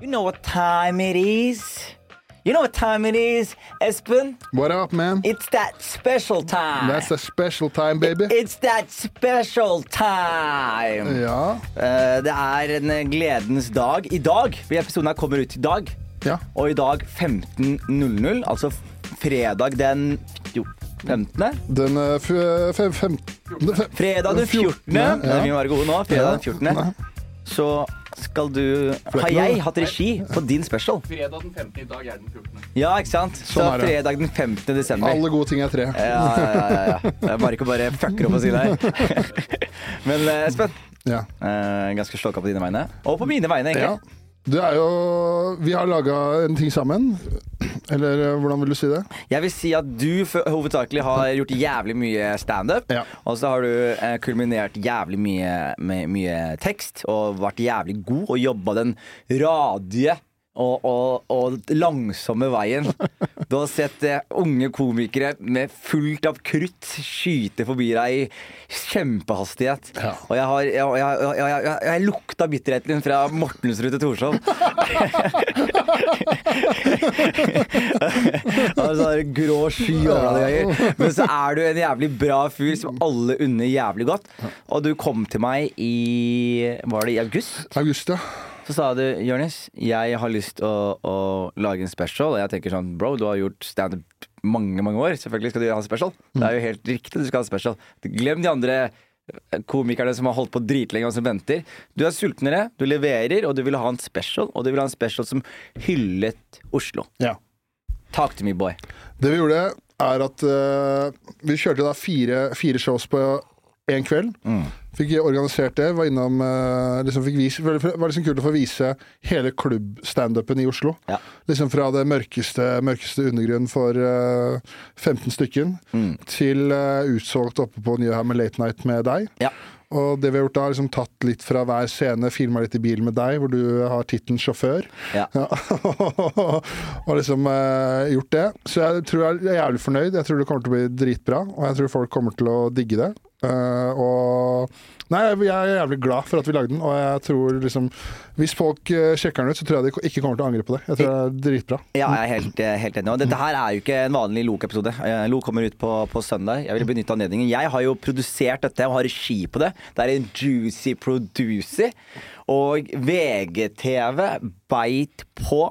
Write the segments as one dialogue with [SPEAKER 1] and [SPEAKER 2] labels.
[SPEAKER 1] You know what time it is. You know what time it is, Espen?
[SPEAKER 2] What up, man?
[SPEAKER 1] It's that special time.
[SPEAKER 2] That's a special time, baby.
[SPEAKER 1] It's that special time.
[SPEAKER 2] Ja.
[SPEAKER 1] Eh, det er en eh, gledens dag i dag. fordi Episoden her kommer ut i dag.
[SPEAKER 2] ja.
[SPEAKER 1] Og i dag 15.00, altså fredag den jo, 15.
[SPEAKER 2] Den eh, f f fem...
[SPEAKER 1] Fredag den 14.
[SPEAKER 2] Ja.
[SPEAKER 1] Vi må være gode nå. Fredag den 14.
[SPEAKER 2] Nei.
[SPEAKER 1] Så skal du
[SPEAKER 2] er
[SPEAKER 1] Har
[SPEAKER 2] ikke
[SPEAKER 1] jeg
[SPEAKER 2] noe-
[SPEAKER 1] hatt regi på din special?
[SPEAKER 3] Fredag den 15. i dag er den 14.
[SPEAKER 1] Ja, ikke sant? Så
[SPEAKER 2] Sånn er det.
[SPEAKER 1] fredag den 15. desember.
[SPEAKER 2] Alle gode ting er tre.
[SPEAKER 1] Ja, ja, ja, ja, ja. Det er bare ikke å bare fucker opp og si det her. Men eh, Espen,
[SPEAKER 2] Ja.
[SPEAKER 1] eh, ganske slåka på dine vegne. Og på mine vegne,
[SPEAKER 2] ja.
[SPEAKER 1] egentlig.
[SPEAKER 2] Det er jo Vi har laga en ting sammen. Eller eh, hvordan vil du si det?
[SPEAKER 1] Jeg vil si at du f- hovedsakelig har gjort jævlig mye standup.
[SPEAKER 2] Ja.
[SPEAKER 1] Og så har du eh, kulminert jævlig mye med mye tekst og vært jævlig god og jobba den radige og, og, og langsomme veien. Du har sett eh, unge komikere med fullt av krutt skyte forbi deg i kjempehastighet.
[SPEAKER 2] Ja.
[SPEAKER 1] Og jeg har jeg, jeg, jeg, jeg, jeg, jeg lukta bitterheten din fra Mortensrud til Torshov. altså, det er grå sky over deg ganger. Men så er du en jævlig bra fyr som alle unner jævlig godt. Og du kom til meg i Var det i august?
[SPEAKER 2] August, ja.
[SPEAKER 1] Så sa du, Jonis, jeg har lyst å, å lage en special. Og jeg tenker sånn, bro, du har gjort standup mange, mange år. Selvfølgelig skal du ha en special. Det er jo helt riktig, du skal ha en special. Glem de andre eh, komikerne som har holdt på dritlenge og som venter. Du er sultnere, du leverer, og du vil ha en special. Og du vil ha en special som hyllet Oslo.
[SPEAKER 2] ja.
[SPEAKER 1] Talk to me, boy.
[SPEAKER 2] Det vi gjorde, er at eh, vi kjørte da fire, fire shows på én kveld. Fikk organisert det. Var innom, eh, liksom fikk vise, for det var liksom kult å få vise hele klubbstandupen i Oslo.
[SPEAKER 1] Ja.
[SPEAKER 2] Liksom fra det mørkeste, mørkeste undergrunnen for eh, 15 stykken, til eh, utsolgt oppe på Nyhammer Late Night med deg.
[SPEAKER 1] Ja.
[SPEAKER 2] Og det vi har gjort da, er liksom tatt litt fra hver scene, filma litt i bil med deg, hvor du har tittelen sjåfør.
[SPEAKER 1] Ja.
[SPEAKER 2] og liksom eh, gjort det. Så jeg tror jeg er jævlig fornøyd. Jeg tror det kommer til å bli dritbra, og jeg tror folk kommer til å digge det. Eh, og Nei, jeg jeg er jævlig glad for at vi lagde den, og jeg tror liksom Hvis folk eh, sjekker den ut, så tror jeg de ikke kommer til å angre på det. Jeg tror det er dritbra.
[SPEAKER 1] Ja, jeg er helt, eh, helt enig. Og dette her er jo ikke en vanlig Lok-episode. Eh, Lok kommer ut på, på søndag.
[SPEAKER 2] Mm.
[SPEAKER 1] Jeg vil benytte anledningen. Jeg har jo produsert dette og har regi på det. Det er en juicy producer. Og VGTV beit på.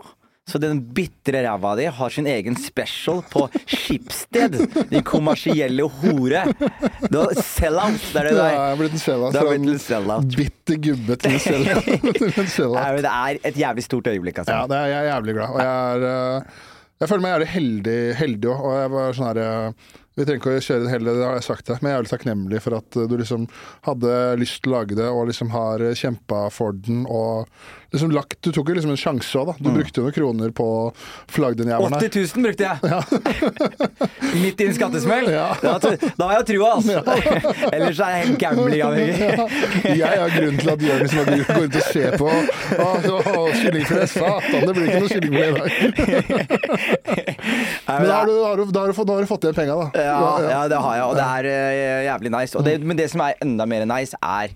[SPEAKER 1] Så den bitre ræva di har sin egen special på Schibsted. Din kommersielle hore. Du har sell-out, det er det du
[SPEAKER 2] Ja,
[SPEAKER 1] er.
[SPEAKER 2] jeg er blitt en sellout.
[SPEAKER 1] Du er
[SPEAKER 2] fra
[SPEAKER 1] blitt en sellout.
[SPEAKER 2] Bitter gubbe til en sellout. Til en sellout.
[SPEAKER 1] Nei, men Det er et jævlig stort øyeblikk, altså.
[SPEAKER 2] Ja, det er, jeg er jævlig glad. Og jeg er eh, Jeg føler meg jævlig heldig heldig òg. Og jeg var sånn her eh, Vi trenger ikke å kjøre det hele, det har jeg sagt til deg, men jeg er jævlig takknemlig for at eh, du liksom hadde lyst til å lage det, og liksom har kjempa for den og liksom lagt Du tok jo liksom en sjanse òg, da. Du
[SPEAKER 1] Mm.
[SPEAKER 2] brukte jo noen kroner på å flagge den jævelen
[SPEAKER 1] 80 000 brukte jeg! Midt i en skattesmell. Da, da har jeg trua, altså. Ellers er jeg helt gambling-avhengig.
[SPEAKER 2] Jeg er grunnen til liksom, at Jonis nå går rundt og ser på. Å, å, å, Kyllingfilet! Satan, det blir ikke noe kyllingfilet i dag. Men da har du, da har du, da har du, fått, da har du fått igjen penga, da.
[SPEAKER 1] Ja, ja, det har jeg, og det er eh, jævlig nice. Og
[SPEAKER 2] Mm.
[SPEAKER 1] det, men det som er enda mer nice, er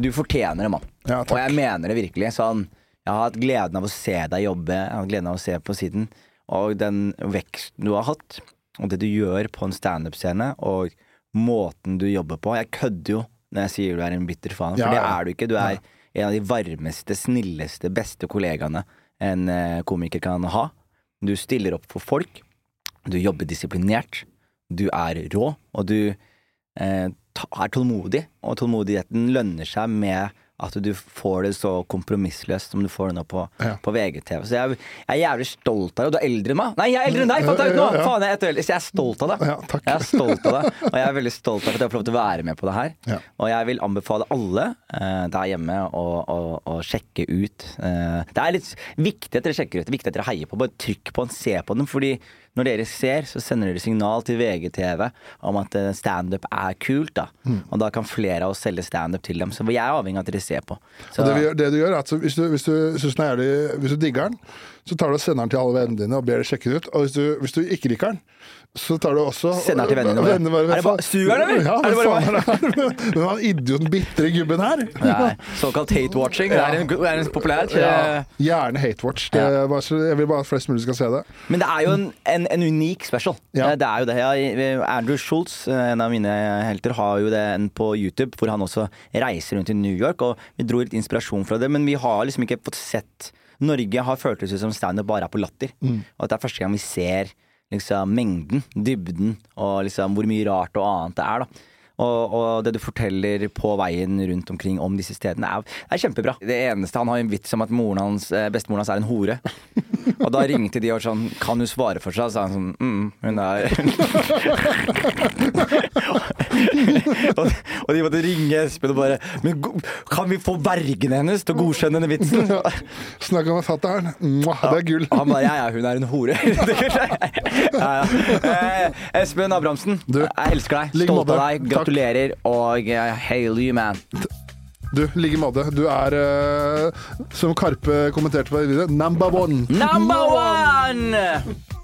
[SPEAKER 1] du fortjener det, mann.
[SPEAKER 2] Ja,
[SPEAKER 1] og
[SPEAKER 2] takk.
[SPEAKER 1] jeg mener det virkelig. Sånn, jeg har hatt gleden av å se deg jobbe, jeg har hatt gleden av å se på siden. Og den veksten du har hatt, og det du gjør på en standup-scene, og måten du jobber på Jeg kødder jo når jeg sier du er en bitter faen, for
[SPEAKER 2] Ja,
[SPEAKER 1] det
[SPEAKER 2] ja.
[SPEAKER 1] er du ikke. Du er en av de varmeste, snilleste, beste kollegaene en eh, komiker kan ha. Du stiller opp for folk. Du jobber disiplinert. Du er rå, og du eh, ta- er tålmodig. Og tålmodigheten lønner seg med at du får det så kompromissløst som du får det nå på,
[SPEAKER 2] Ja.
[SPEAKER 1] på VGTV. Så jeg, jeg er jævlig stolt av deg. Og du er eldre enn meg! Nei, jeg er eldre enn deg! Fant jeg ut nå!
[SPEAKER 2] Ja, ja, ja.
[SPEAKER 1] Faen, jeg er ett år eldre. Så jeg er stolt av deg.
[SPEAKER 2] Ja, takk.
[SPEAKER 1] Jeg er stolt av deg, og jeg er veldig stolt av at jeg får lov til å være med på det her.
[SPEAKER 2] Ja.
[SPEAKER 1] Og jeg vil anbefale alle eh, der hjemme å, å, å sjekke ut. eh, det er litt viktig at dere sjekker ut, det er viktig at dere heier på. Bare trykk på den, se på den, fordi Når dere ser, så sender dere signal til VGTV om at eh, standup er kult. da
[SPEAKER 2] Mm.
[SPEAKER 1] Og da kan flere av oss selge standup til dem. Så jeg er avhengig av at dere ser på. Så,
[SPEAKER 2] Og det, vi, gjør- det du gjør er at så hvis du, hvis du, synes den er jævlig, hvis du digger den, så tar du og sender den til alle vennene dine og ber dem sjekke den ut. Og hvis du, hvis du ikke liker den, så tar du også
[SPEAKER 1] Sender den til vennene dine.
[SPEAKER 2] vennene bare,
[SPEAKER 1] Er det bare-
[SPEAKER 2] "Faen-
[SPEAKER 1] suger den, eller?
[SPEAKER 2] Ja,
[SPEAKER 1] Er det
[SPEAKER 2] hva
[SPEAKER 1] bare
[SPEAKER 2] faen er det her? Hvem er den idioten, bitre gubben her?
[SPEAKER 1] det er såkalt hate-watching. Det er en, det er en populær eh,
[SPEAKER 2] Ja, gjerne hatewatch. Det er bare så- Jeg vil bare at flest mulig skal se det.
[SPEAKER 1] Men det er jo en, en, en unik special.
[SPEAKER 2] Ja.
[SPEAKER 1] Eh, Det er jo det. Jeg, Andrew Schultz, eh, en av mine helter, har jo det en på YouTube, hvor han også reiser rundt i New York. Og vi dro litt inspirasjon fra det, men vi har liksom ikke fått sett Norge har føltes ut som standup bare er på latter. Og at det er første gang vi ser liksom, mengden, dybden, og liksom hvor mye rart og annet det er. da og, og det du forteller på veien rundt omkring om disse stedene, er, er kjempebra. Det eneste han har en vits om at moren hans, eh, bestemoren hans er en hore. Og da ringte de og sånn Kan hun svare for seg? Og så sa han sånn mm, Hun er og, og de måtte ringe Espen og bare Men go- kan vi få vergene hennes til å godkjenne denne vitsen?
[SPEAKER 2] Snakk om fatter'n. Mwah, Det er gull.
[SPEAKER 1] Og han bare Ja ja, hun er en hore. ja, ja. Eh, Espen Abrahamsen,
[SPEAKER 2] Du,
[SPEAKER 1] jeg elsker deg.
[SPEAKER 2] like
[SPEAKER 1] Stolt av
[SPEAKER 2] måte.
[SPEAKER 1] deg.
[SPEAKER 2] Takk.
[SPEAKER 1] Gratulerer. Og eh, hail you, man.
[SPEAKER 2] Du, i like måte. Du er,
[SPEAKER 1] Mm.
[SPEAKER 2] eh, som Karpe kommenterte på det videre, number one.
[SPEAKER 1] Number one!